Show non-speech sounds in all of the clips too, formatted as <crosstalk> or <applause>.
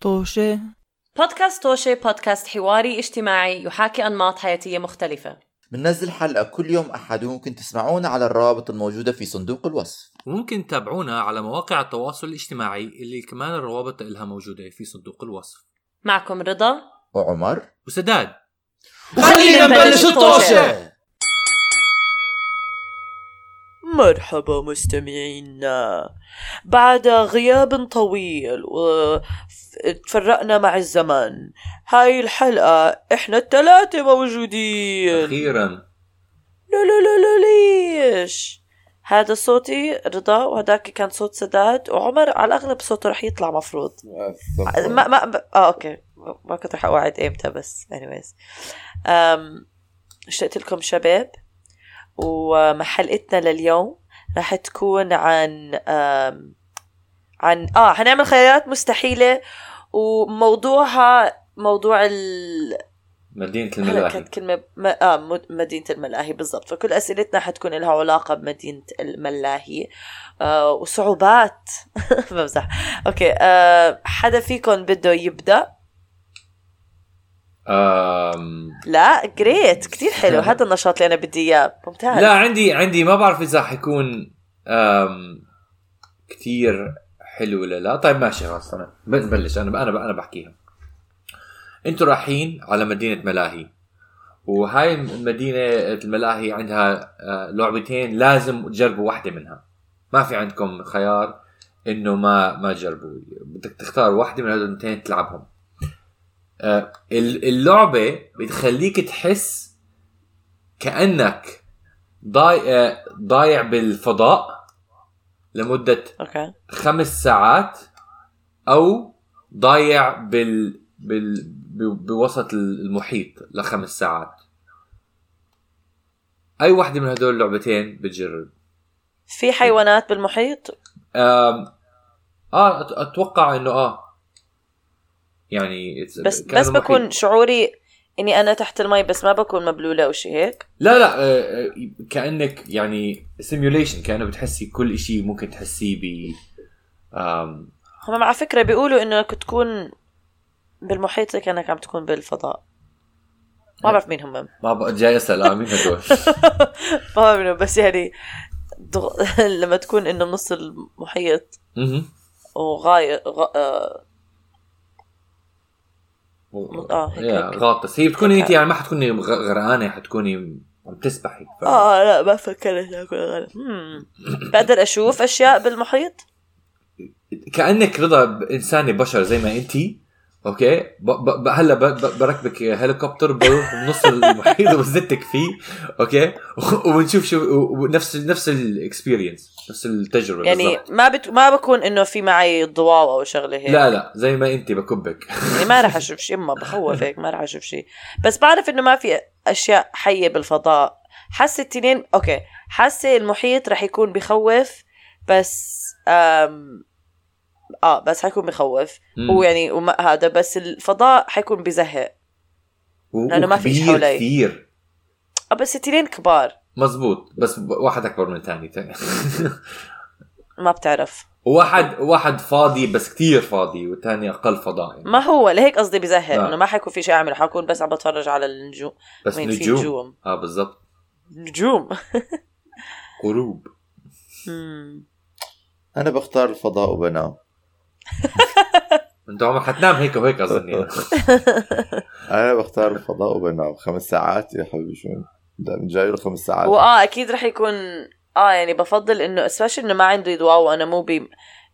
طوشة بودكاست توشي بودكاست حواري اجتماعي يحاكي أنماط حياتية مختلفة بننزل حلقة كل يوم أحد وممكن تسمعونا على الروابط الموجودة في صندوق الوصف وممكن تتابعونا على مواقع التواصل الاجتماعي اللي كمان الروابط لها موجودة في صندوق الوصف معكم رضا وعمر وسداد خلينا نبلش الطوشة. مرحبا مستمعينا بعد غياب طويل وتفرقنا مع الزمن هاي الحلقة احنا التلاتة موجودين أخيرا لا لا لا لا ليش هذا صوتي رضا وهداك كان صوت سداد وعمر على الأغلب صوته رح يطلع مفروض ما ما ما- اه اوكي ما كنت رح اوعد ايمتى بس anyways أم، اشتقت لكم شباب وحلقتنا لليوم رح تكون عن أم، عن اه حنعمل خيارات مستحيلة وموضوعها موضوع ال مدينة هلا الملاهي كانت كلمة م... آه مد- مدينة الملاهي بالضبط فكل أسئلتنا حتكون لها علاقة بمدينة الملاهي آه وصعوبات <laughs> بمزح أوكي آه حدا فيكم بده يبدأ آم... لا جريت كتير <laughs> حلو هذا النشاط اللي أنا بدي إياه ممتاز لا عندي عندي ما بعرف إذا حيكون آم... كثير حلو ولا لا طيب ماشي خلاص أنا ببلش أنا أنا أنا بحكيها أنتوا رايحين على مدينة ملاهي وهاي مدينة الملاهي عندها آه، لعبتين لازم تجربوا واحدة منها ما في عندكم خيار انه ما ما تجربوا بدك تختار واحدة من هدول الاثنين تلعبهم آه، ال- اللعبة بتخليك تحس كأنك ضايع آه، ضايع بالفضاء لمدة أوكي خمس ساعات او ضايع بال, بال... ب- بوسط المحيط لخمس ساعات اي واحدة من هدول اللعبتين بتجرب في حيوانات بالمحيط أم... اه أت- اتوقع انه اه يعني it's- بس كان بس المحيط- بكون شعوري إني أنا تحت المي بس ما بكون مبلولة أو شيء هيك لا لا آه، آه، كانك يعني سيميوليشن كانه بتحسي كل شيء ممكن تحسيه ب أم... هم على فكرة بيقولوا إنك تكون بالمحيط زي كأنك عم تكون بالفضاء ما بعرف مين هم ما بقى جاي اسال آه، مين <laughs> هدول ما بعرف بس يعني دغ... <laughs> لما تكون انه نص المحيط مهم. وغاية غ... آه، آه، هيك- يا هيك. غاطس هي بتكوني هيك انت يعني ما حتكوني غ- غرقانه حتكوني عم تسبحي ف... اه لا ما فكرت اكل غلط مم. Hmm. بقدر اشوف اشياء بالمحيط كانك رضا ب- انسانه بشر زي ما انت اوكي ب... ب... ب... هلا ب... ب... بركبك هليكوبتر بروح بنص المحيط <laughs> وبزتك فيه اوكي و- <laughs> وبنشوف شو و- ونفس نفس الاكسبيرينس نفس التجربه يعني بالضبط. ما بت... ما بكون انه في معي ضواو او شغله هيك لا لا زي ما انت بكبك <laughs> يعني ما راح اشوف شيء اما بخوف هيك ما راح اشوف شيء بس بعرف انه ما في اشياء حيه بالفضاء حاسه التنين اوكي حاسه المحيط راح يكون بخوف بس آم... اه بس حيكون بخوف مم. هو يعني وما هذا بس الفضاء حيكون بزهق و- لأنه ما فيش وكبير حوالي. كثير آه، بس التنين كبار مزبوط بس ب- واحد اكبر من الثاني ما بتعرف <laughs> واحد واحد فاضي بس كتير فاضي والثاني اقل فضاء يعني. ما هو لهيك قصدي بزهق آه. انه ما حيكون في شيء اعمله حكون بس عم بتفرج على النجوم بس وين في نجوم نجوم اه بالضبط نجوم <laughs> غروب مم. أنا بختار الفضاء وبنام انت عمرك حتنام هيك وهيك <laughs> اظن يعني. أنا بختار الفضاء وبنام خمس ساعات يا حبيبي شو لا، جاي له خمس ساعات واه اكيد رح يكون اه يعني بفضل انه especially انه ما عنده يضواو وانا مو ب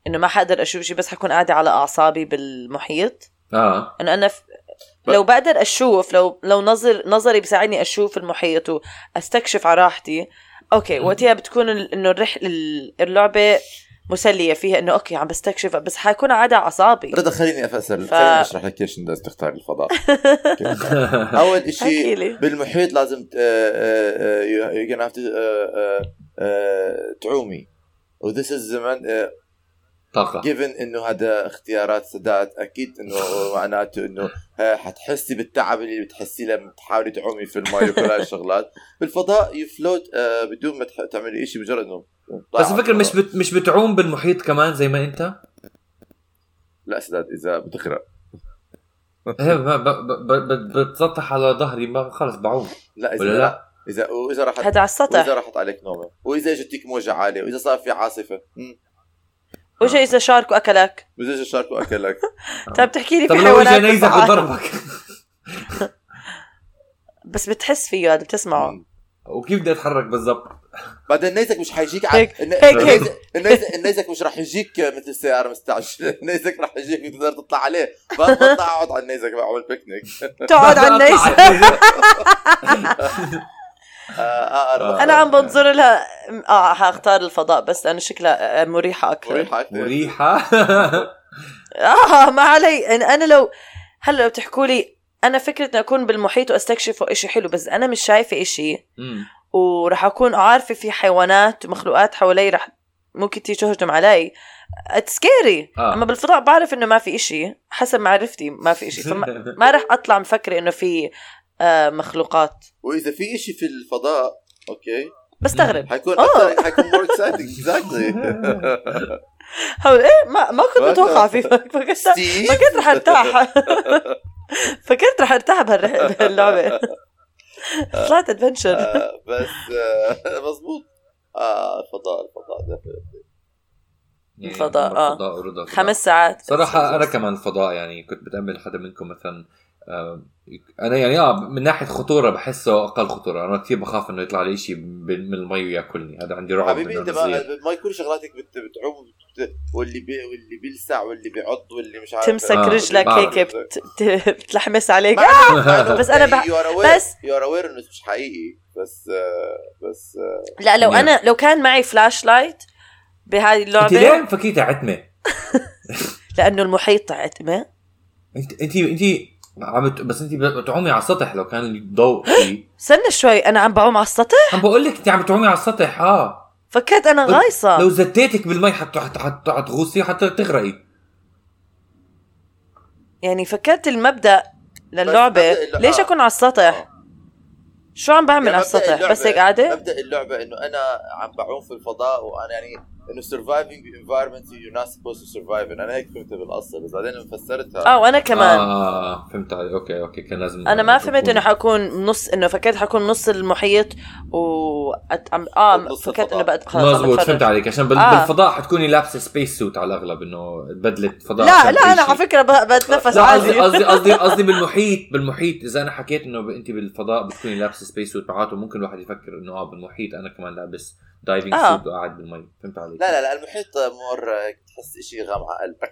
انه ما حقدر اشوف شيء بس حكون قاعده على اعصابي بالمحيط اه انه انا ف... لو بقدر اشوف لو لو نظر نظري بيساعدني اشوف المحيط واستكشف على راحتي اوكي وقتها بتكون ال- انه الرحل اللعبه مسليه فيها انه اوكي عم بستكشف بس حيكون عادة اعصابي رضا خليني افسر ف- خليني اشرح لك ليش الناس تختار الفضاء أوكي. اول احكي شيء لي بالمحيط لازم آه، يو gonna have to آه، آه، آه، تعومي وذس از زمان <laughs> طاقة جيفن انه هذا اختيارات سداد اكيد انه معناته انه آه، حتحسي بالتعب اللي بتحسيه لما تحاولي تعومي في الماء وكل هاي الشغلات بالفضاء يفلوت آه، بدون ما تح- تعملي شيء مجرد انه بس الفكرة <laughs> مش بت... مش بتعوم بالمحيط كمان زي ما انت لا سداد اذا بتغرق إيه، ما- ب- ب- ب- بتسطح على ظهري ما خلص <laughs> بعوم لا اذا ولا لا؟ اذا واذا راحت هذا على السطح واذا راحت عليك نومه واذا اجتك موجه عاليه واذا صار في عاصفه مم. وجا اذا شارك واكلك واذا اجى الشارك واكلك طيب بتحكي لي طب في لو اجى حيوانات نيزك بتفعل. بضربك <laughs> بس بتحس فيه هذا بتسمعه وكيف بدي اتحرك بالضبط؟ <laughs> بعدين نيزك مش حيجيك هيك- الن- هيك- هيك. النيزك- النيزك النيزك مش رح يجيك مثل السياره مستعجله <laughs> النيزك رح يجيك بتقدر تطلع عليه بطلع اقعد على النيزك بعمل بيكنيك تقعد <laughs> على النيس آه، آه، آه. آه، انا عم بنظر لها اه حاختار الفضاء بس لانه شكلها آه، مريحه اكثر مريحه آه، أكتر. مريحة <laughs> اه ما علي إن انا لو هلا لو تحكوا لي انا فكره اني اكون بالمحيط واستكشفه إشي حلو بس انا مش شايفه إشي <laughs> مم. ورح اكون عارفه في حيوانات ومخلوقات حوالي رح ممكن تيجي تهجم علي سكيري آه. آه. اما بالفضاء بعرف انه ما في إشي حسب معرفتي ما في إشي فما ما رح اطلع مفكره انه في آه مخلوقات واذا في إشي في الفضاء اوكي بستغرب حيكون آه. اكثر حيكون مور اكسايتنج <laughs> اكزاكتلي هقول ايه ما ما كنت ما متوقعه كنت- فيه فكرت فكرت رح ارتاح <laughs> فكرت رح ارتاح بهالرح- <laughs> بهاللعبه طلعت ادفنشر بس آه، مزبوط اه الفضاء الفضاء ده <laughs> يعني الفضاء، آه. الفضاء ورضا الفضاء. خمس ساعات صراحة أنا كمان فضاء يعني كنت بتأمل حدا منكم مثلا آه، أنا يعني آه من ناحية خطورة بحسه أقل خطورة أنا كثير بخاف إنه يطلع لي شيء من المي وياكلني هذا عندي رعب حبيبي منه انت وأنا ما, صغير. ما يكون شغلاتك بت- بتعوم بت- واللي بي واللي بيلسع واللي بيعض واللي مش عارف تمسك آه، رجلك بعرف. هيك بت- بت- بتلحمس عليك <laughs> بعرف. آه. بس أنا بح- بس بس- يو ار اوير انه مش حقيقي بس آه، بس آه، لا لو نعم. انا لو كان معي فلاش لايت بهاي أنت ليه اللعبه مفكيتها عتمة؟ لانه المحيط عتمه أنت أنت أنت عم بت- بس أنت بتعومي على السطح لو كان الضوء فيه استنى شوي انا عم بعوم على السطح عم بقول لك أنت عم بتعومي على السطح آه فكرت انا لو غايصه زتيتك بالمي حت حت حت حتغوصي حتى تغرقي يعني فكرت المبدا للعبه بس مبدأ- ليش آه. اكون على السطح شو عم بعمل يعني على مبدأ السطح بس اللعبة- هيك قاعده مبدا اللعبه انه انا عم بعوم في الفضاء وانا يعني انه سرفايفنج انفايرمنت يو نوت سبوز تو سرفايف انا هيك فهمتها بالاصل بس بعدين لما فسرتها اه وانا كمان آه فهمت علي أوكي أوكي كان لازم انا ما فهمت تكون- انه حكون نص انه فكرت حكون نص المحيط و أت- عم اه نص فكرت انه الفضاء. بقى خلص عم مظبوط بتفرج. فهمت عليك عشان بال... آه. بالفضاء حتكوني لابسه سبيس سوت على الاغلب انه بدله فضاء لا عشان لا انا تعيشي. على فكره ب- بتنفس لا قصدي عادي قصدي قصدي قصدي بالمحيط بالمحيط اذا انا حكيت انه ب- انت بالفضاء بتكوني لابسه سبيس سوت معناته ممكن الواحد يفكر انه اه بالمحيط انا كمان لابس دايفنج آه. سوت وقاعد بالمي فهمت عليك لا لا لا المحيط مور هيك تحس شيء غام على قلبك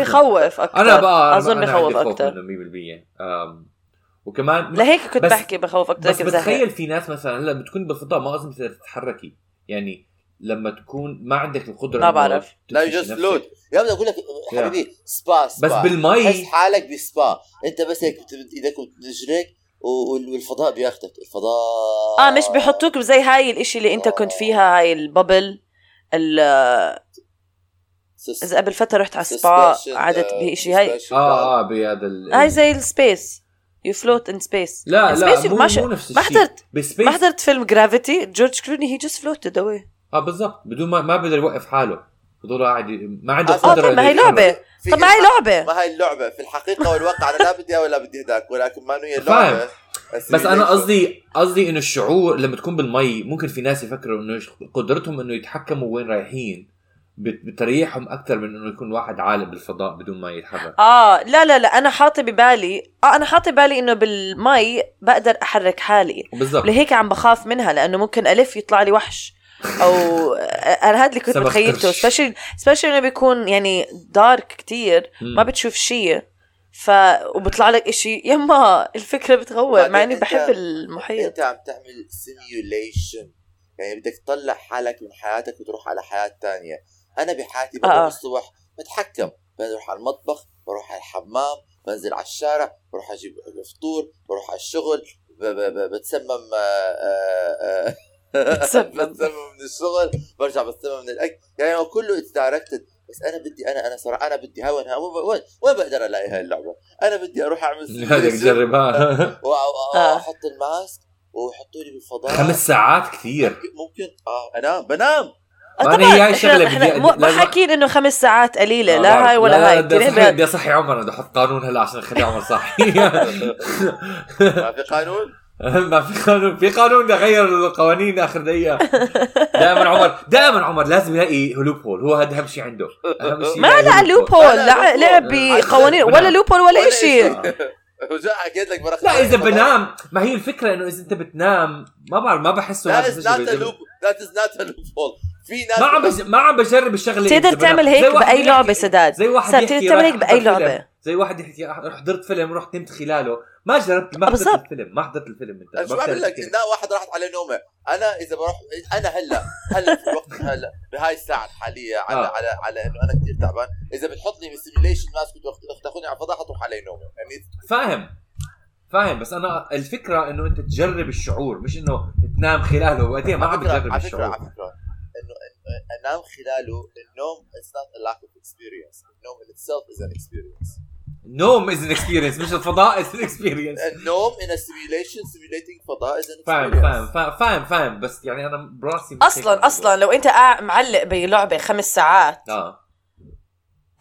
بخوف اكثر انا بقى اظن بخوف اكثر اكثر 100% أم، وكمان لهيك كنت بس- بحكي بخوف اكثر بس هيك بزهق. بتخيل في ناس مثلا هلا بتكون بالفضاء ما اظن بتقدر تتحركي يعني لما تكون ما عندك القدره ما إنه بعرف. لا يو تكتشفي جاست نفسك. فلوت يا بدي اقول لك حبيبي سبا سبا بس بالمي تحس حالك بسبا انت بس هيك بت- بت- ايدك وبتجريك و- وال- والفضاء بياخدك الفضاء اه مش بحطوك زي هاي الاشي اللي انت كنت فيها هاي الببل ال- سس- اذا قبل فتره رحت على السبا suspension، قعدت آه، بشيء هاي suspension. اه اه بهذا ال- هاي زي السبيس يو فلوت ان سبيس لا لا Space مو, ماشي. مو نفس ما الشيء حضرت- بسبيس ما حضرت فيلم جرافيتي جورج كلوني هي جاست فلوتد اواي اه بالضبط بدون ما ما بيقدر يوقف حاله بضل قاعد ي- ما عنده آه، اه قدره طيب ما هي إنه يتحرك. لعبه في- طب ما هي إيه. لعبه ما هاي اللعبه في الحقيقه والواقع انا لا بدي ولا بدي هداك ولكن ما إنه هي اللعبه بس انا قصدي قصدي انه الشعور لما تكون بالمي ممكن في ناس يفكروا انه ش- قدرتهم انه يتحكموا وين رايحين بت- بتريحهم اكثر من انه يكون واحد عالم بالفضاء بدون ما يتحرك اه لا لا لا انا حاطه ببالي اه انا حاطه ببالي انه بالمي بقدر احرك حالي بالضبط لهيك عم بخاف منها لانه ممكن الف يطلع لي وحش او انا هذا اللي كنت سبخ متخيلته قرش. سبيشلي سبيشلي انه بيكون يعني دارك كتير ما <laughs> بتشوف شيء ف وبطلع لك اشي يما الفكره بتغور مع اني وبعدين بحب أنت- المحيط انت عم تعمل سيميوليشن يعني بدك تطلع حالك من حياتك وتروح على حياه تانية انا بحياتي بقوم آه. الصبح بتحكم بروح على المطبخ بروح على الحمام بنزل على الشارع بروح اجيب فطور بروح على الشغل ب- ب- ب- بتسمم آه، آه، <laughs> آه، بتسمم. بتسمم من الشغل برجع بتسمم من الاكل يعني هو كله اتس دايركتد بس انا بدي انا انا صراحه انا بدي هون هون وين وين بقدر الاقي هاي اللعبه؟ انا بدي اروح <laughs> اعمل بدك simulation. <laughs> تجربها آه. واحط الماسك ويحطوا لي بالفضاء خمس ساعات كثير ممكن اه انام بنام آه، ما أنا طبعاً، هي شغلة إحنا- إحنا بدي- مو- ما لازم- حاكيين انه خمس ساعات قليله آه، لا هاي لا، ولا هاي بدي كتير اصحي هيك. بدي اصحي عمر بدي احط قانون هلا عشان اخلي عمر صاحي <laughs> ما في قانون ما في قانون في قانون ده غير القوانين اخر دقيقه دائما عمر دائما عمر لازم يلاقي لوب هول هو هذا اهم شيء عنده اهم شيء ما يلاقي لا loophole. لوبول لا، لا loophole. لعب آه، بقوانين بنام. ولا لوبول ولا ولا شيء إشي. وجاء حكيت لك مرة لا اذا بنام ما هي الفكره انه اذا انت بتنام ما بعرف ما بحسه That هذا is مش- not a loop that is not a loophole في ناس ما عم بج... ما عم بجرب الشغله إذا بتقدر بنام. تعمل زي هيك واحد باي يحكي- لعبه سداد زي واحد سداد، يحكي بتقدر تعمل رايح هيك باي أحضر فيلم. لعبه زي واحد يحكي أح- حضرت فيلم رحت نمت خلاله ما جربت ما آه، حضرت بالضبط. الفيلم ما حضرت الفيلم انت أنا شو ما بعمل لك بتعرف كيف. لا واحد راحت عليه نومه انا اذا بروح انا هلا هلا في الوقت هلا بهاي الساعه الحاليه على آه. على على انه انا كثير تعبان اذا بتحط لي سيميليشن ماسك وتاخ- تاخذني على الفضاء حتروح علي نومه يعني فاهم فاهم بس انا الفكره انه انت تجرب الشعور مش انه تنام خلاله وقتين ما عم على فكره بجرب على فكره الشعور على فكره انه إنه انام خلاله النوم it's not a lack of experience النوم in itself is an experience النوم از ان اكسبيرينس مش الفضاء از ان اكسبيرينس النوم in a simulation simulating فضاء is an فاهم experience فاهم فاهم- فاهم فاهم بس يعني انا براسي مش هيك اصلا الموضوع. اصلا لو انت قاعد معلق بلعبه خمس ساعات اه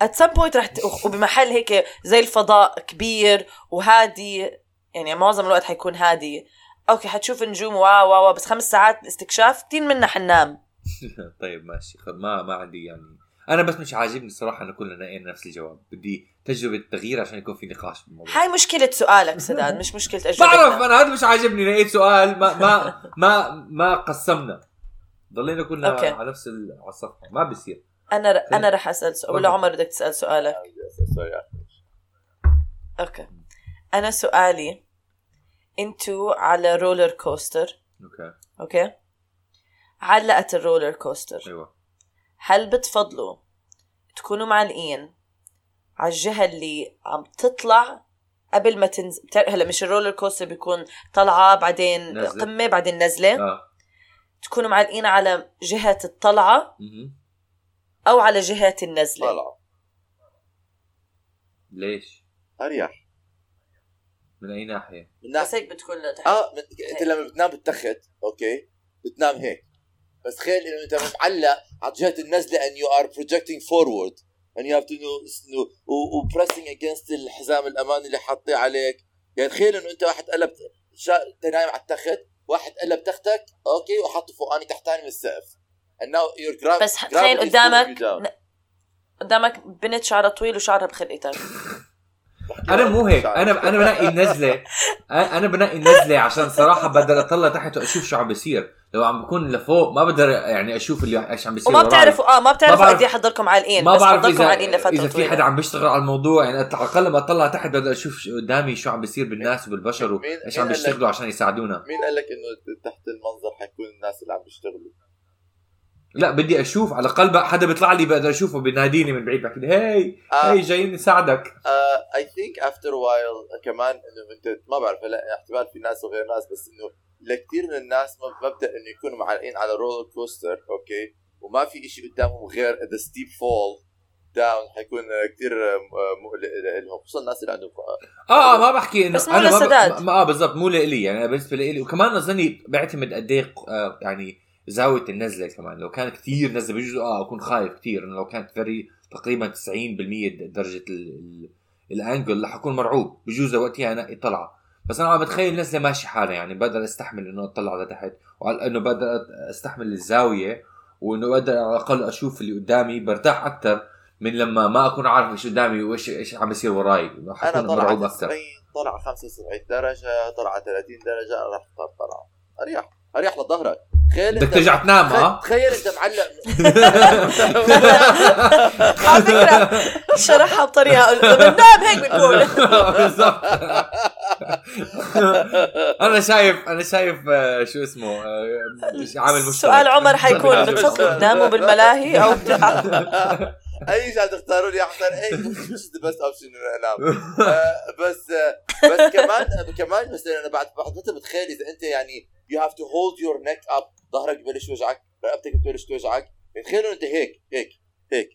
ات سم بوينت رح ت- وبمحل هيك زي الفضاء كبير وهادي يعني معظم الوقت حيكون هادي اوكي حتشوف نجوم واو واو واو، بس خمس ساعات استكشاف كثير منا حنام طيب ماشي خ- ما ما عندي يعني انا بس مش عاجبني الصراحه انه كلنا نقينا نفس الجواب بدي تجربه تغيير عشان يكون في نقاش بالموضوع هاي مشكله سؤالك سداد مش مشكله اجوبتنا بعرف انا هذا مش عاجبني لقيت سؤال ما ما ما ما قسمنا ضلينا كلنا أوكي. على نفس ال- على الصفحه ما بيصير انا ر... إيه. انا رح اسال سؤال ولا تفضل. عمر بدك تسال سؤالك Sorry. يعني. اوكي انا سؤالي انتو على رولر كوستر اوكي اوكي علقت الرولر كوستر ايوه هل بتفضلوا تكونوا معلقين على الجهه اللي عم تطلع قبل ما تنزل هلا مش الرولر كوستر بيكون طلعه بعدين نزلة. قمه بعدين نزله اه تكونوا معلقين على جهه الطلعه مهم. او على جهه النزله طلع ليش؟ اريح من اي ناحيه؟ من بس ناحيه هيك بتكون لتحت اه من... إيه. انت لما بتنام بالتخت اوكي بتنام هيك بس تخيل انه انت معلق على جهه النزله and you are projecting forward and you have to know, know و- و pressing against الحزام الامامي اللي حاطيه عليك يعني تخيل انه انت واحد قلب شا... انت نايم على التخت واحد قلب تختك اوكي وحطه فوقاني تحتاني من السقف and now your gra- بس gravity تخيل is pulling قدامك you down. قدامك بنت شعرها طويل وشعرها <laughs> بخلقتك انا مو هيك انا انا بنقي النزله أ- انا بنقي النزله عشان صراحه بقدر اطلع تحت واشوف شو عم بيصير لو عم بكون لفوق ما بقدر يعني اشوف اللي ايش عم بيصير وما وراي. بتعرفوا اه ما ما بتعرفوا بعرف- قد ايه حضركم عالقين ما بس بعرف حضركم اذا عالقين لفتره اذا في طويله حدا عم بيشتغل على الموضوع يعني على الاقل بطلع تحت بقدر اشوف شو- قدامي شو عم بيصير بالناس وبالبشر مين- وايش مين عم قال لك؟ بيشتغلوا عشان يساعدونا مين قال لك انه تحت المنظر حيكون الناس اللي عم بيشتغلوا لا بدي اشوف على الاقل بقى حدا بيطلع لي بقدر اشوفه بيناديني من بعيد بحكي لي هاي آه. هاي جايين نساعدك اي ثينك افتر وايل كمان انه انت ما بعرف هلا احتمال في ناس وغير ناس بس انه لكثير من الناس مب- مبدا انه يكونوا معلقين على رولر كوستر اوكي وما في إشي قدامهم غير ذا ستيب فول داون حيكون كثير مقلق لهم خصوصا الناس اللي عندهم اه آه، ما بحكي انه بس مو ما ب- للسداد. ما اه بالضبط مو لإلي يعني أنا بالنسبه لإلي وكمان اظني بعتمد قد ايه ق- آه، يعني زاويه النزله كمان لو كانت كثير نزله بجوز اه اكون خايف كثير انه لو كانت فري تقريبا 90% د- درجه ال- ال- الانجل رح اكون مرعوب بجوز وقتها انقي طلعه بس انا عم بتخيل نزله ماشي حالها يعني بقدر استحمل انه اطلع لتحت وعلى انه بقدر أت- استحمل الزاويه وانه بقدر على الاقل اشوف اللي قدامي برتاح اكثر من لما ما اكون عارف ايش قدامي وايش ايش عم يصير وراي انا حكون طلع <laughs> مرعوب اكثر 90 طلع 75 درجه طلع 30 درجه انا راح اختار طلع اريح اريح لظهرك تخيل بدك انت ترجع تنام آه؟ ها؟ تخيل انت معلق على فكره شرحها بطريقه بنام هيك بنقول <laughs> بالضبط <laughs> انا شايف انا شايف آه، شو اسمه آه، عامل مشترك سؤال عمر <laughs> حيكون عامل مشترك. بتفضلوا تناموا بالملاهي <laughs> او بتلعبوا اي شيء تختاروا لي احسن اي ذا بيست اوبشن انه انام آه، بس آه، بس كمان كمان مثلا انا بعد بحضرتها بتخيل اذا انت يعني يو هاف تو هولد يور نيك اب ظهرك ببلش يوجعك رقبتك ببلش توجعك تخيل انت هيك هيك هيك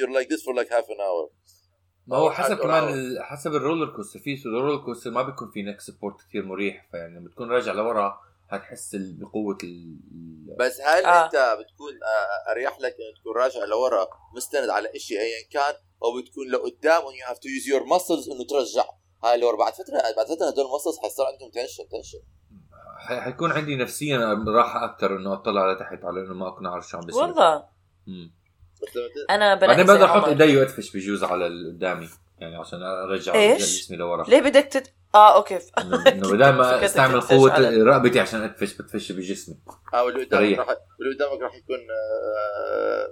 يور لايك ذس فور لايك هاف ان اور ما هو حسب كمان ال- حسب الرولر كوستر في الرولر كوستر ما بيكون في نك سبورت كثير مريح فيعني لما تكون راجع لورا حتحس ال- بقوه ال- بس هل آه. آه. انت بتكون آه، اريح لك انه تكون راجع لورا مستند على شيء ايا كان او بتكون لقدام and you have to use your muscles انه ترجع هاي لورا بعد فتره بعد فتره هدول المسلز حيصير عندهم تنشن تنشن ح- حيكون عندي نفسيا راحه اكثر انه اطلع لتحت على انه ما اكون عارف شو عم بيصير والله مم. بس لما ت- انا بنقي بعدين بقدر زي احط عمر. ايدي وادفش بجوز على اللي قدامي يعني عشان ارجع إيش؟ أرجع جسمي لورا ليه بدك تت... اه اوكي ف- إنه- انه بدل <laughs> فكرت ما استعمل تدفش قوه على- رقبتي عشان ادفش بدفش بجسمي اه واللي قدامك ريح. راح واللي قدامك راح يكون آه،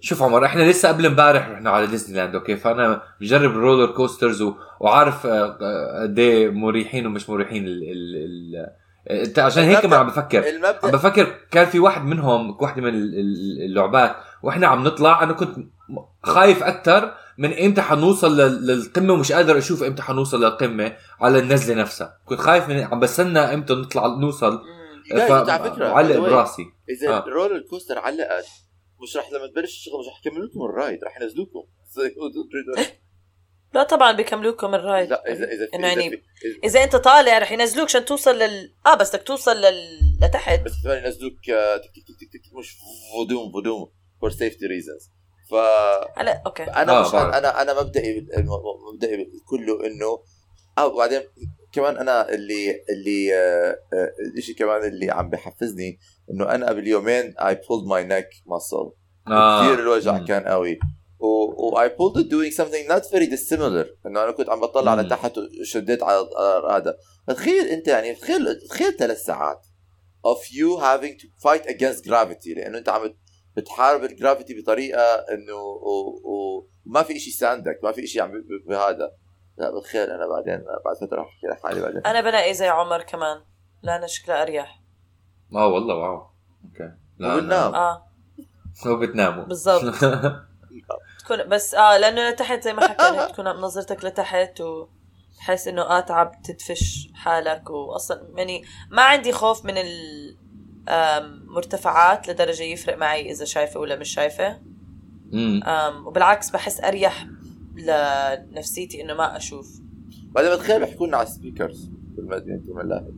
شوف عمر احنا لسه قبل امبارح رحنا على ديزني لاند اوكي فانا مجرب الرولر كوسترز و... وعارف آه، آه، قد ايه مريحين ومش مريحين ال... ال... ال... انت عشان هيك ما عم بفكر عم المبدا بفكر كان في واحد منهم واحدة من ال- ال- اللعبات واحنا عم نطلع انا كنت م- خايف اكثر من امتى حنوصل لل- للقمه ومش قادر اشوف امتى حنوصل للقمه على النزله نفسها كنت خايف من عم بستنى امتى نطلع نوصل لا، أنت على فكرة، by معلق the way. براسي اذا آه. الرولر كوستر علقت مش راح لما تبلش الشغل مش راح يكملوا لكم الرايد راح ينزلوكم لا طبعا بيكملوكم الرايد لا اذا اذا في- إنه إذا يعني في- إذا- اذا انت طالع رح ينزلوك عشان توصل لل اه بس بدك توصل لل... لتحت بس كمان ينزلوك آه، تك تك تك تك تك مش فودوم فودوم فور سيفتي ريزونز ف على اوكي انا آه، آه مش بعرف. انا انا مبدئي بالم- مبدئي كله انه اه وبعدين كمان انا اللي اللي آه آه الشيء كمان اللي عم بحفزني انه انا قبل يومين اي بولد ماي نيك ماسل آه. كثير الوجع مم. كان قوي و اي بولد it doing something not very dissimilar انه انا كنت عم بطلع مم. لتحت وشديت على على هذا تخيل انت يعني تخيل تخيل ثلاث ساعات of you having to fight against gravity لانه انت عم بت- بتحارب الجرافيتي بطريقه انه و- و- وما في إشي ساندك ما في إشي عم ب- ب- بهذا لا بتخيل انا بعدين بعد فتره رح احكي لحالي بعدين انا بنقي زي عمر كمان لا انا شكلها اريح اه والله واو اوكي لا وبننام. اه أنا- وبتناموا <laughs> بالضبط تكون بس اه لانه لتحت زي ما <laughs> حكينا تكون نظرتك لتحت و تحس انه اه تعبت تدفش حالك واصلا يعني ما عندي خوف من ال آم، مرتفعات لدرجة يفرق معي إذا شايفة ولا مش شايفة مم. آم، وبالعكس بحس أريح لنفسيتي إنه ما أشوف بعدين بتخيل بيحكوا لنا على السبيكرز بالمدينه الملاهي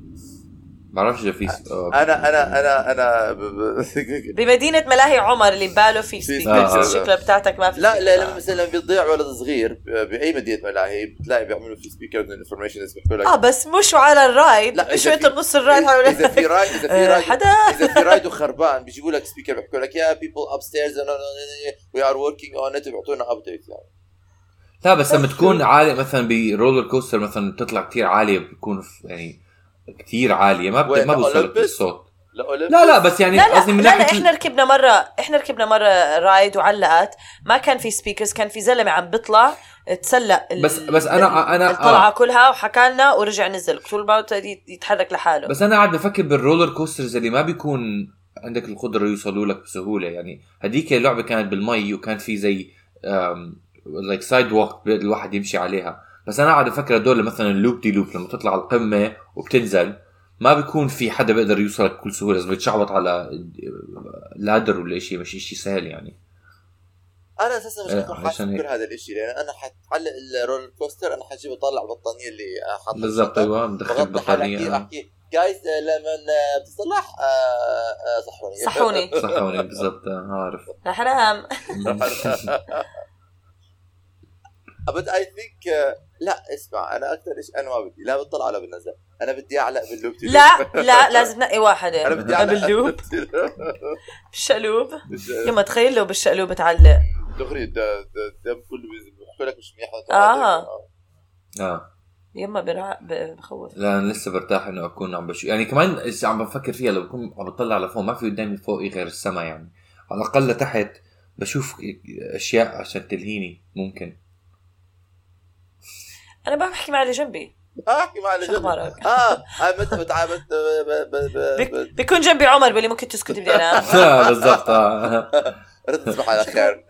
بعرفش اذا في س- آه، انا انا انا انا ب- ب- <laughs> بمدينة ملاهي عمر اللي بباله في آه. سبيكرز شكلها بتاعتك ما في لا لا لما speakers. مثلا لما بيضيع ولد صغير آه، ب- باي مدينه ملاهي بتلاقي بيعملوا في سبيكر من الانفورميشن بيحكوا لك اه بس مش على الرايد لا، لا مش إذا انت في- بنص الرايد حول- اذا <laughs> في رايد اذا في آه، رايد حدا اذا في رايد وخربان بيجيبوا لك سبيكر بيحكوا لك يا بيبل ابستيرز وي ار وركينج اون ات بيعطونا ابديت يعني لا بس لما تكون عالي مثلا برولر كوستر مثلا بتطلع كتير عاليه بتكون في- يعني كتير عاليه ما بت... وين؟ ما بوصلك أولمبس؟ الصوت لا أولمبس. لا لا بس يعني لا لا قصدي من لا, لا ناحيه احنا ركبنا مره احنا ركبنا مره رايد وعلقت ما كان في سبيكرز كان في زلمه عم بيطلع تسلق ال- بس- بس أنا- أنا- الطلعه آه. كلها وحكى لنا ورجع نزل طول ما هو تقدر يتحرك لحاله بس انا قاعد بفكر بالرولر كوسترز اللي ما بيكون عندك القدره يوصلوا لك بسهوله يعني هديك اللعبه كانت بالمي وكان في زي لايك سايد ووك الواحد يمشي عليها بس انا قاعد افكر هدول مثلا اللوب دي لوب لما تطلع على القمه وبتنزل ما بيكون في حدا بيقدر يوصلك بكل سهوله لازم يتشعبط على لادر ولا شيء مش شيء سهل يعني انا اساسا مش آه، حكون حاسس عشان هيك. بكل هذا الشيء لان انا حتعلق الرولر كوستر انا حجيب اطلع البطانيه اللي حاطها بالضبط ايوه مدخل بغطي حالي أحكي- بطانيه احكي جايز لما بتصلح آه، آه، صحوني <laughs> صحوني صح هون بالضبط آه، عارف رح انام بس اي ثينك uh, لا اسمع انا اكثر شيء انا ما بدي لا بطلع ولا بنزل انا بدي اعلق باللوب تي لا لا لازم نقي انا واحده بدي اعلق <laughs> باللوب بالشقلوب يما تخيل لو بالشقلوب تعلق دغري ده ده ده كله بيحكوا لك مش منيح آه. اه يما برع- ب- بخوف لا انا لسه برتاح انه اكون عم بشوف يعني كمان إذا عم بفكر فيها لو بكون عم بطلع لفوق ما في قدامي فوقي غير السما يعني على الاقل لتحت بشوف اشياء عشان تلهيني ممكن <laughs> انا ما بحكي مع اللي جنبي اه احكي مع شو اخبارك اه آه، متى بتعبت ب- ب- ب- بك- ب- بيكون جنبي عمر بيقول لي ممكن تسكت بدي انام <laughs> آه، بالضبط آه. <laughs> رد تصبح على خير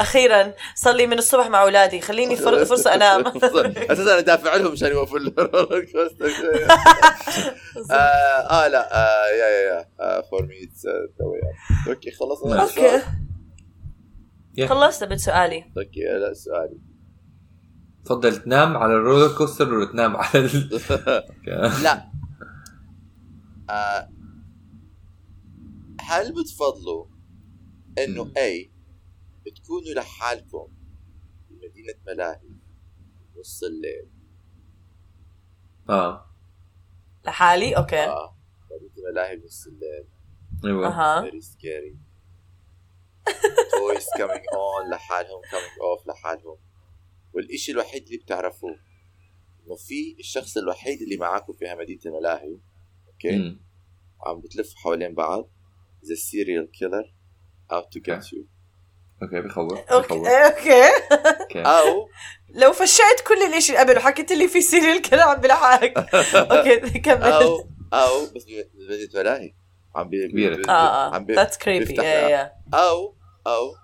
اخيرا صار لي من الصبح مع اولادي خليني فر... فرصه <laughs> انام اساسا انا دافع لهم مشان <laughs> يوقفوا الرولر كوستر آه, اه لا آه يا يا يا فور مي اوكي خلصنا اوكي خلصت بد سؤالي اوكي لا سؤالي تفضل تنام على الرولر كوستر ولا تنام على ال... <laughs> لا آه. هل بتفضلوا انه اي بتكونوا لحالكم بمدينة ملاهي نص الليل اه لحالي اوكي اه مدينة ملاهي نص الليل ايوه اها فيري سكيري تويز كامينج اون لحالهم كامينج اوف لحالهم والإشي الوحيد اللي بتعرفوه انه في الشخص الوحيد اللي معاكم في مدينة الملاهي اوكي مم. عم بتلف حوالين بعض ذا سيريال كيلر out to get you اوكي بخوف بخوف اوكي اوكي اوكي او لو فشيت كل الاشي قبل وحكيت لي في سيريال كيلر عم بلحقك اوكي كمل او او بس مدينة ملاهي عم بي كبيرة. بي- اه اه عم بي ذاتس كريبي بيفتح يا يا او او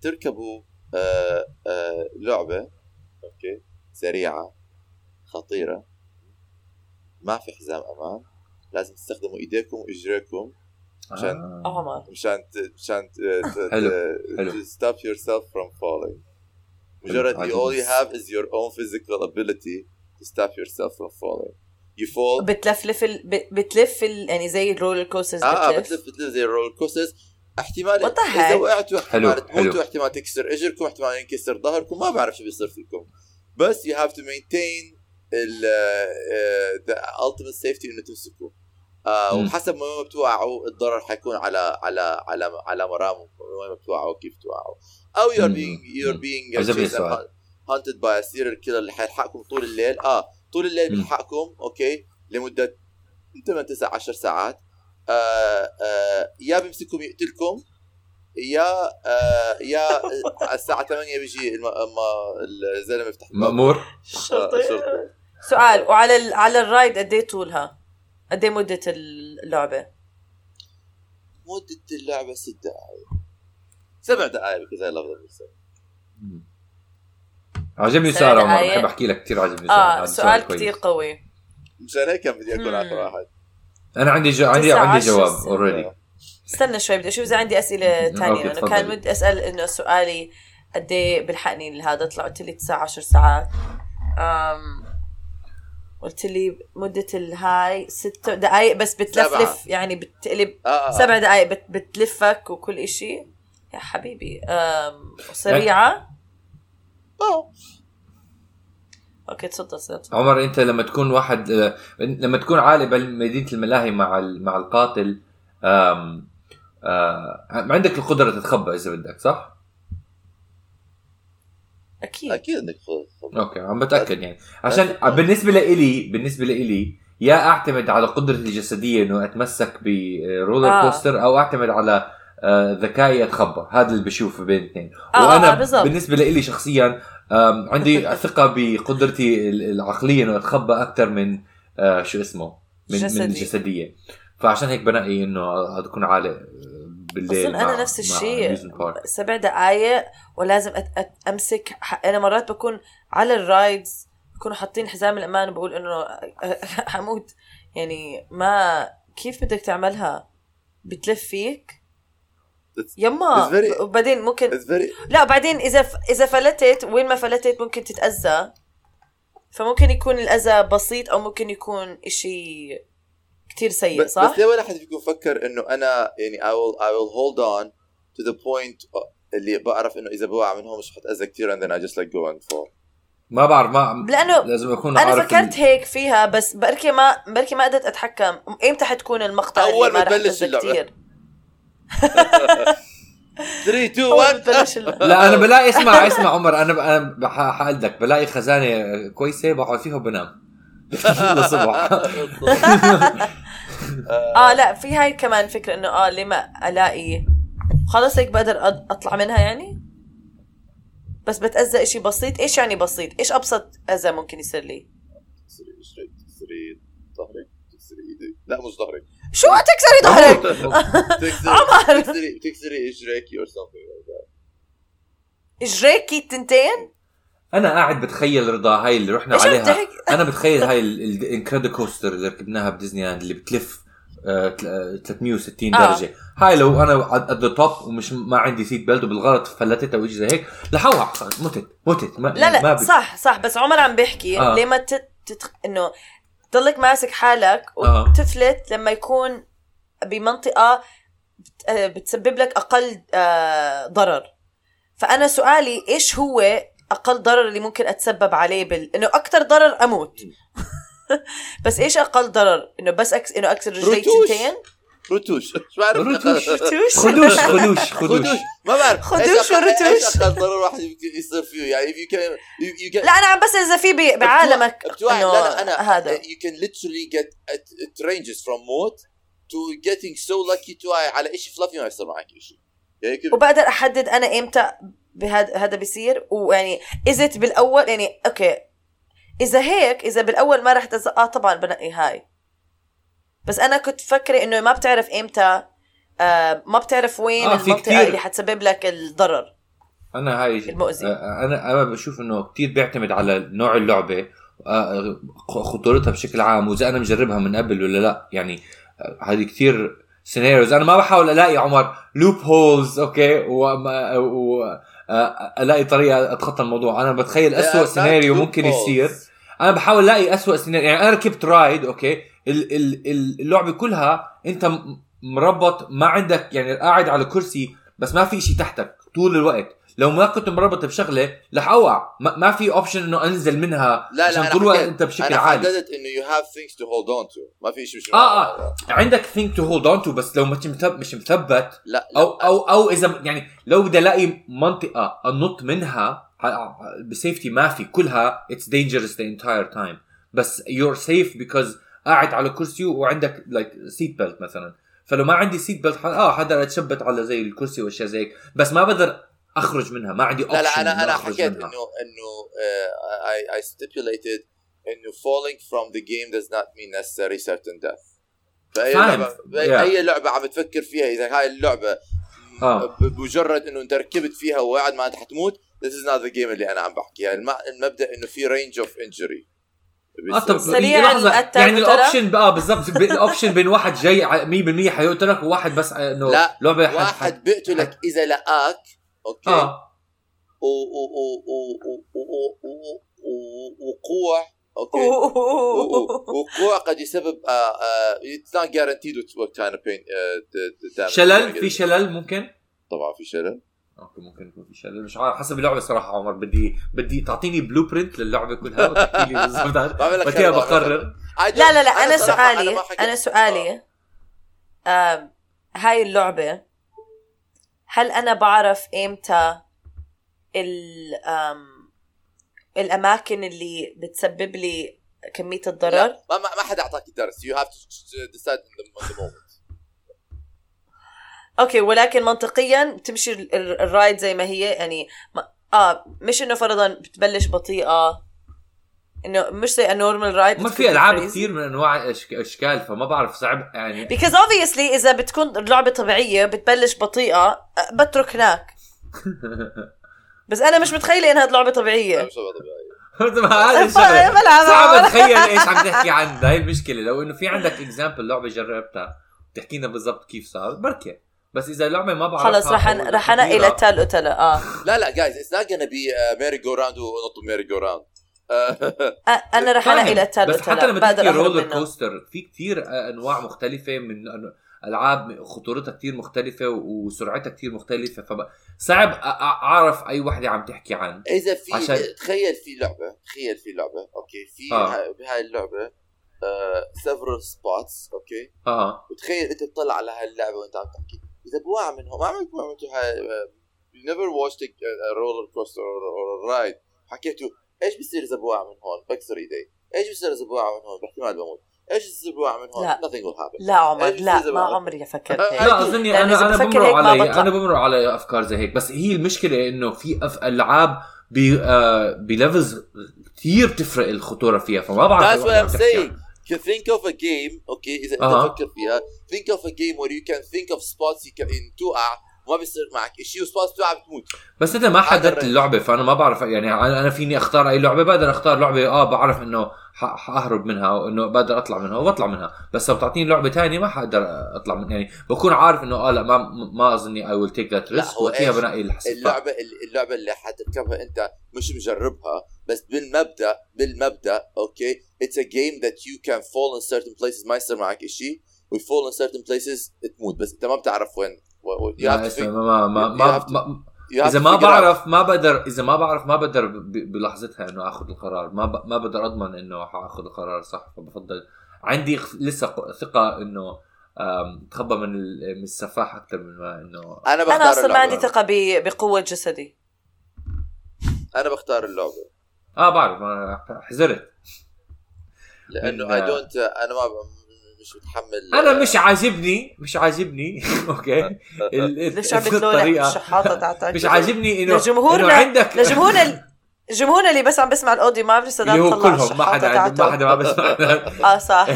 تركبوا آه آه لعبه اوكي سريعه خطيره ما في حزام امان لازم تستخدموا ايديكم واجريكم عشان- آه. عمر مشان ت- مشان <laughs> حلو، حلو. ستوب يور سيلف فروم فولينج مجرد حلو، you all you have عجبني. is your own physical ability to stop yourself from falling you fall بتلفلف ال... ب- بتلف ال... يعني زي الرولر كوسترز اه آه، بتلف بتلف بتلف زي الرول كوسترز احتمال What the اذا heck؟ وقعتوا حلو، احتمال تموتوا حلو. احتمال تكسر اجركم احتمال ينكسر ظهركم ما بعرف شو بيصير فيكم بس يو هاف تو مينتين ال آه، ذا التيمت سيفتي انه تمسكوا آه مم. وحسب ما وين بتوقعوا الضرر حيكون على على على على مرامكم وين ما بتوقعوا كيف توقعوا او يور مم. بينج يور مم. بينج عجبني السؤال. هانتد باي سيريال كيلر اللي حيلحقكم طول الليل اه طول الليل مم. بيلحقكم اوكي لمده 8 9 10 ساعات آه آه يا بيمسككم يقتلكم يا آه يا على الساعه 8 بيجي الم- أما الزلمه يفتح الباب. مأمور آه، شرطي شرطي. سؤال وعلى ال... على الرايد قد ايه طولها؟ قد ايه مدة اللعبة؟ مده اللعبه ست دقائق سبع دقائق كذا لفظ مم. عجبني سؤال سؤال عمر دعاية. بحب احكي لك كثير عجبني سؤال. اه هذا سؤال كويس. كتير قوي مشان هيك كان بدي اكون مم. اخر واحد انا عندي جو... عندي تسعة عندي عشر جواب سنة. اوريدي استنى شوي بدي اشوف اذا عندي اسئله مم، ثانيه أوكي، انا تفضلي. كان بدي اسال انه سؤالي قد ايه بلحقني لهذا طلع قلت لي 9 10 ساعات أم قلت لي مدة الهاي ست دقائق بس بتلفلف يعني بتقلب اه سبع دقائق بت بتلفك وكل إشي يا حبيبي أم سريعة آه. اوكي تفضل تفضل عمر انت لما تكون واحد آه، لما تكون عالق بمدينه الملاهي مع ال... مع القاتل آم... آه... عندك القدره تتخبى اذا بدك صح؟ اكيد اكيد انك خلص اوكي عم بتاكد يعني عشان بالنسبه لإلي بالنسبه لإلي يا اعتمد على قدرتي الجسديه انه اتمسك برولر آه. آه. كوستر او اعتمد على آه، ذكائي اتخبى هذا اللي بشوفه بين الاثنين آه، آه، وانا بالضبط. بالنسبه لإلي شخصيا آم، <laughs> عندي ثقه بقدرتي ال- العقليه انه اتخبى اكثر من آه، شو اسمه من جسدي. من جسدي. الجسديه فعشان هيك بنقي انه اكون عالق بالليل اظن انا مع- نفس مع الشيء amusement park. سبع دقائق ولازم أت... أت... امسك ح... انا مرات بكون على الرايدز بكونوا حاطين حزام الامان وبقول انه <laughs> حموت يعني ما كيف بدك تعملها بتلف فيك It's- يما it's very- وبعدين ممكن It's very لا بعدين اذا ف... اذا فلتت وين ما فلتت ممكن تتاذى فممكن يكون الاذى بسيط او ممكن يكون اشي كتير سيء بس, إيه، صح؟ بس ليه ولا حد فيكم فكر انه انا يعني I will I will hold on to the point اللي بعرف انه اذا بوقع منهم مش حتاذى كثير and then I just like go and fall ما بعرف ما لأنه لازم اكون انا عارف فكرت هيك فيها بس بركي ما بركي ما قدرت اتحكم امتى حتكون المقطع أول اللي ما ما رح تبلش أتأذى اللعبة. كتير 3 2 اول ما 1 تبلش <laughs> اللعبة. لا انا بلاقي اسمع اسمع عمر انا ب- انا بح- حقلدك بلاقي خزانه كويسه بقعد فيها وبنام <laughs> <laughs> للصبح اه لا في هاي كمان فكره انه اه ليه ما الاقي خلص هيك بقدر أط- اطلع منها يعني بس بتاذى اشي بسيط ايش يعني بسيط ايش ابسط اذى ممكن يصير لي تكسري رجلك تكسري ظهرك تكسري ايدك لا مش ظهرك شو تكسري ظهرك تكسري تكسري تكسري اجريك or something like that اجريكي التنتين انا قاعد بتخيل رضا هاي اللي رحنا ايش عم عليها تحكي انا بتخيل هاي الانكريدي كوستر اللي ركبناها بديزني لاند اللي بتلف آه، تل- 360 آه. درجه هاي لو انا ات ذا توب ومش ما عندي سيت بيلت وبالغلط فلتتها وإشي زي هيك لحوها متت متت ما لا يعني ما لا صح صح بس عمر عم بيحكي آه. آه. ليه ما تت... تت... انه تضلك ماسك حالك آه. وتفلت لما يكون بمنطقه بت... آه، بتسبب لك اقل آه، ضرر فانا سؤالي ايش هو اقل ضرر اللي ممكن اتسبب عليه بال... انه اكثر ضرر اموت <laughs> بس ايش اقل ضرر انه بس أكس... انه اكسر رجلي رتوش. شنتين رتوش مش بعرف رتوش. <laughs> رتوش <laughs> خدوش خدوش خدوش خدوش ما بعرف خدوش إيش أقل- ورتوش. إيش اقل ضرر واحد يمكن يصير فيه يعني if you can you, you can لا انا عم بسال اذا في ب... بعالمك بتوعي إنه لا لا انا هذا you can literally get it, it ranges from موت to getting so lucky to I على شيء فلافي ما يصير معك شيء يعني كيف- وبقدر احدد انا امتى بهذا هذا بيصير ويعني ازت بالاول يعني اوكي اذا هيك اذا بالاول ما رح تزق اه طبعا بنقي هاي بس انا كنت فكرة انه ما بتعرف امتى آه ما بتعرف وين آه، آه في المنطقه كتير. اللي حتسبب لك الضرر انا هاي المؤذي. آه، انا انا بشوف انه كتير بيعتمد على نوع اللعبه آه، خطورتها بشكل عام واذا انا مجربها من قبل ولا لا يعني آه، هذه كتير سيناريوز انا ما بحاول الاقي عمر لوب هولز اوكي وما- و آه، الاقي طريقه اتخطى الموضوع انا بتخيل أسوأ They are not سيناريو loopholes. ممكن يصير انا بحاول الاقي أسوأ سيناريو يعني انا ركبت رايد اوكي ال- ال- ال- اللعبه كلها انت م- مربط ما عندك يعني قاعد على كرسي بس ما في شيء تحتك طول الوقت لو ما كنت مربط بشغله رح اوقع ما, ما في اوبشن انه انزل منها لا عشان لا طول الوقت حكيت- انت بشكل انا عالي حددت انه you have things to hold on to ما في شيء مش اه اه عندك ثينك تو هولد اون تو بس لو مش مثب- مش مثبت لا او او او اذا يعني لو بدي الاقي منطقه انط منها ع- بسيفتي ما في كلها اتس دينجرس ذا انتاير تايم بس يور سيف بيكوز قاعد على كرسي وعندك لايك سيت بيلت مثلا فلو ما عندي سيت بيلت اه حدا اتشبت على زي الكرسي واشياء زي هيك بس ما بقدر اخرج منها ما عندي اوبشن لا لا انا انا أخرج حكيت انه منها. انه آه، I I stipulated انه falling from the game does not mean necessary certain death فاي فاهم. لعبه Yeah. اي لعبه عم تفكر فيها اذا هاي اللعبه آه. ب- بمجرد انه انت ركبت فيها ووقعت ما انت حتموت this is not the game اللي انا عم يعني بحكيها الم- المبدا انه في range of injury اه طب سريعاً لحظة، قتل يعني وترك. الاوبشن اه بالضبط ب- الاوبشن بين واحد جاي ع- 100% حيقتلك وواحد بس انه لا، لعبه حد- واحد بيقتلك اذا لقاك اوكي اه و- و- و- و- و- و- و- و- وقوع اوكي Oh. وقوع قد يسبب آه، اتس نوت جارانتيد وات كاين اوف بين شلل في شلل ممكن طبعا في شلل اوكي ممكن يكون في شلل مش عارف حسب اللعبه صراحه عمر بدي بدي تعطيني بلو برنت للعبه كلها <laughs> وتحكي لي بالظبط عن- بعمل لك وقتها شلل، بعمل لك بقرر لا لا لا انا صراحة سؤالي ما حكيت- آه. انا سؤالي آم، هاي اللعبه هل انا بعرف امتى ال آم، الاماكن اللي بتسبب لي كميه لا، الضرر ما ما ما حدا اعطاك الدرس يو هاف تو ديسايد ان ذا مومنت اوكي ولكن منطقيا بتمشي ال- ال- الرايد زي ما هي يعني ما اه مش انه فرضا بتبلش بطيئه انه مش زي النورمال رايد ما في العاب كثير من انواع أشك- اشكال فما بعرف صعب <laughs> يعني <laughs> because obviously اذا بتكون اللعبه طبيعيه بتبلش بطيئه أه، بترك هناك <laughs> بس انا مش متخيله انها لعبه <laughs> إيه. طبيعيه مثل ما هذا بلعبها، الشغل <laughs> بلعبها. صعب اتخيل ايش عم تحكي عن هاي المشكله لو انه في عندك اكزامبل لعبه جربتها تحكي لنا بالضبط كيف صار بركي بس اذا لعبه ما بعرفها خلص رح أو رح انقي كبيرة، للتال قتلة اه لا لا جايز اتس نوت gonna آه، بي ميري جو راوند ونط ميري جو راوند آه، أ- انا رح فاهم. انقي للتال بس قتلة حتى لما تحكي أهرب رولر منه. كوستر في كتير آه، انواع مختلفه من أن- العاب خطورتها كتير مختلفه و- وسرعتها كتير مختلفه فصعب اعرف اي وحده عم تحكي عن اذا في عشان- تخيل في لعبه تخيل في لعبه اوكي في آه. ها- بهاي آه، اللعبه سيفرال سبوتس اوكي اه وتخيل انت بتطلع على هاللعبه وانت عم تحكي اذا بوقع منهم ما عمركم عملتوا هاي آه، يو نيفر واتشت رولر كوستر اور رايد حكيتوا ايش بصير اذا بوقع من هون بكسر ايدي ايش بصير اذا بوقع من هون باحتمال بموت ايش بصير بوقع من هون لا. nothing will happen لا عمر إيش لا بصير ما بقى؟ عمري فكرت لا، هيك أه، لا اظني لأن إذا انا انا بفكر بمرق هيك ما علي بطلع. انا بمرق علي افكار زي هيك بس هي المشكله انه في أف... العاب ب آه... بليفلز كثير بتفرق الخطوره فيها فما بعرف That's أي what وحدة عم I'm تحكي saying. عنها. You think of a game اوكي اذا انت أها. تفكر فيها think of a game where you can think of spots you can in توقع وما بيصير معك شيء وسباس بتلعب بتموت بس انت ما هذا حددت الرأي. اللعبه فانا ما بعرف يعني انا أنا فيني اختار اي لعبه بقدر اختار لعبه اه بعرف انه ح- حاهرب منها وانه بقدر اطلع منها وبطلع منها بس لو بتعطيني لعبه تانية ما حقدر اطلع منها يعني بكون عارف انه اه لا ما ما اظني اي ويل تيك ذات لا، ريسك هو وقتها إيش؟ بنقي اللي حسيتها اللعبه اللعبه اللي حتركبها انت مش مجربها بس بالمبدا بالمبدا اوكي اتس ا جيم ذات يو كان فول ان certain places ما يصير معك شيء ويفول ان certain places تموت بس انت ما بتعرف وين و- و- you have لا، to اسمع، fig- يعني ما ما you ما, have to- ما you have اذا to ما figure out. بعرف ما بقدر اذا ما بعرف ما بقدر ب- بلحظتها انه اخذ القرار ما ب... ما بقدر اضمن انه حاخذ القرار صح فبفضل عندي خ- لسه ق- ثقه انه آم، تخبى من ال- من السفاح اكثر من ما انه انا بختار انا اصلا ما اللعبة. عندي ثقه ب- بقوه <laughs> جسدي انا بختار اللعبه اه بعرف أنا حزرت لانه اي لا. دونت انا ما ب- مش متحمل انا مش عاجبني مش عاجبني <laughs> اوكي ال- ليش عم ال- بتلولح مش حاطط على مش عاجبني انه لجمهورنا- إنه عندك لجمهورنا ال- جمهورنا اللي بس عم بسمع الاودي ما عم لسه <laughs> اللي هو طلع كلهم ما حدا عاجب- ما حدا ما بسمع اه صح <laughs>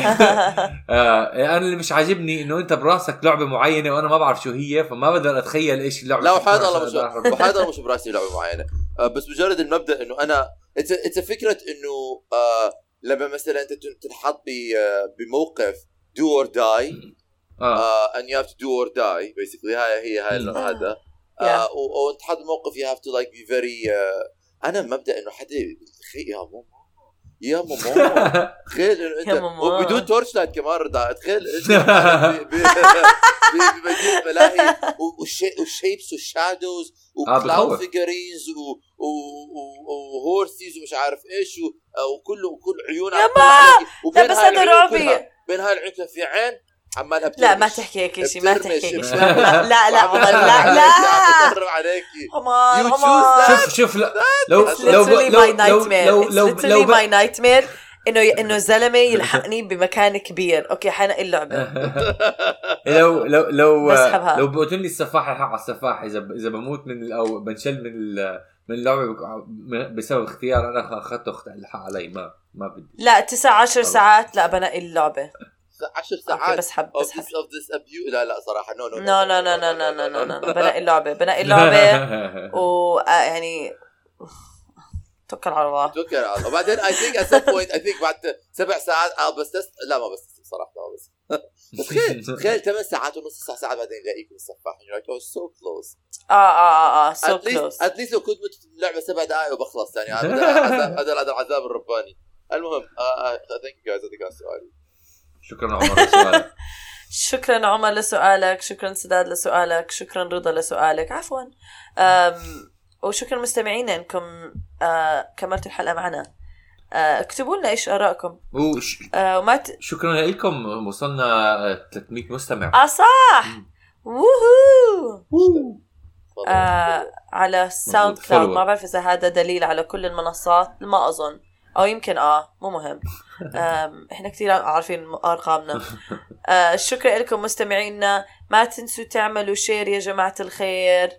آه انا اللي مش عاجبني انه انت براسك لعبه معينه وانا ما بعرف شو هي فما بقدر اتخيل ايش اللعبه لا وحياة عشان الله مش أقدر <laughs> أعرف. وحياة الله مش براسي لعبه معينه آه، بس مجرد المبدا انه انا اتس فكره انه آه، لما مثلا انت تن- تنحط ب- آه، بموقف دو اور داي آه. اه آه، and you have to do or die basically هاي هي هاي ال- مم. هذا Hmm. Yeah. آه، و- وانت حاط موقف you have to like be very آه، انا مبدا انه حدا يخي- يا ماما يا ماما <laughs> تخيل انه انت يا ماما. وبدون تورش لايت كمان رضا تخيل انت <laughs> ب- <laughs> ب- ب- بمدينه ملاهي و- والشي- والشيبس والشادوز آه، وكلاود بخوف. فيجرينز وهورسيز ومش عارف ايش و- آه، وكله وكل عيون يا على كل ما! واحد. وبين لا، بس هاي هذا العيون رعبي. كلها- بين هاي العيون كلها في عين عمالها لا ما بترمش. تحكي هيك شيء ما تحكي هيك <laughs> بترمش. شيء لا لا <laughs> لا وعمالها والله، لا عم لا بتقرب عليكي همان You choose همان شوف شوف لا لو It's لو literally لو my nightmare. لو It's لو لو literally لو my nightmare انه انه زلمه <laughs> يلحقني بمكان كبير اوكي حنقي أه. اللعبه لو لو لو آه، بسحبها. لو بقتلني السفاح رح على السفاح اذا اذا بموت من او بنشل من ال- من اللعبه بك- بسبب اختيار انا اخذته اخت- الحق علي ما ما بدي لا تسع عشر ساعات لا بنقي اللعبه عشر اوكي ساعات بسحب of بسحب this of this abuse لا لا صراحه نو نو نو نو نو نو نو نو نو نو بنقي اللعبه <laughs> بنقي اللعبه و آه، يعني توكل على الله توكل على الله وبعدين اي ثينك ات بوينت اي ثينك بعد سبع ساعات اه بس تست... لا ما بس صراحه ما بس <laughs> تخيل ثمان ساعات ونص تسع ساعات بعدين يلاقيكم السفاح يو لايك اوه سو كلوز اه اه اه اه سو ات كلوز ليست ات ليست لو كنت مت في اللعبه سبع دقائق وبخلص يعني هذا العذاب- هذا هذا العذاب الرباني المهم آه، ثانك يو جايز هذا كان سؤالي شكرا عمر <laughs> سؤالك. شكرا عمر لسؤالك شكرا سداد لسؤالك شكرا رضا لسؤالك عفوا أم وشكرا مستمعينا انكم آه، كملتوا الحلقه معنا آه، اكتبوا لنا ايش ارائكم وش- آه، وما ت... شكرا لكم وصلنا 300 مستمع اه صح ووهو تفضل. آه، على ساوند كلاود follower. ما بعرف اذا هذا دليل على كل المنصات ما اظن او يمكن اه مو مهم آم، احنا كثير عارفين ارقامنا آه، شكرا لكم مستمعينا ما تنسوا تعملوا شير يا جماعه الخير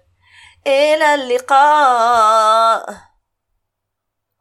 الى اللقاء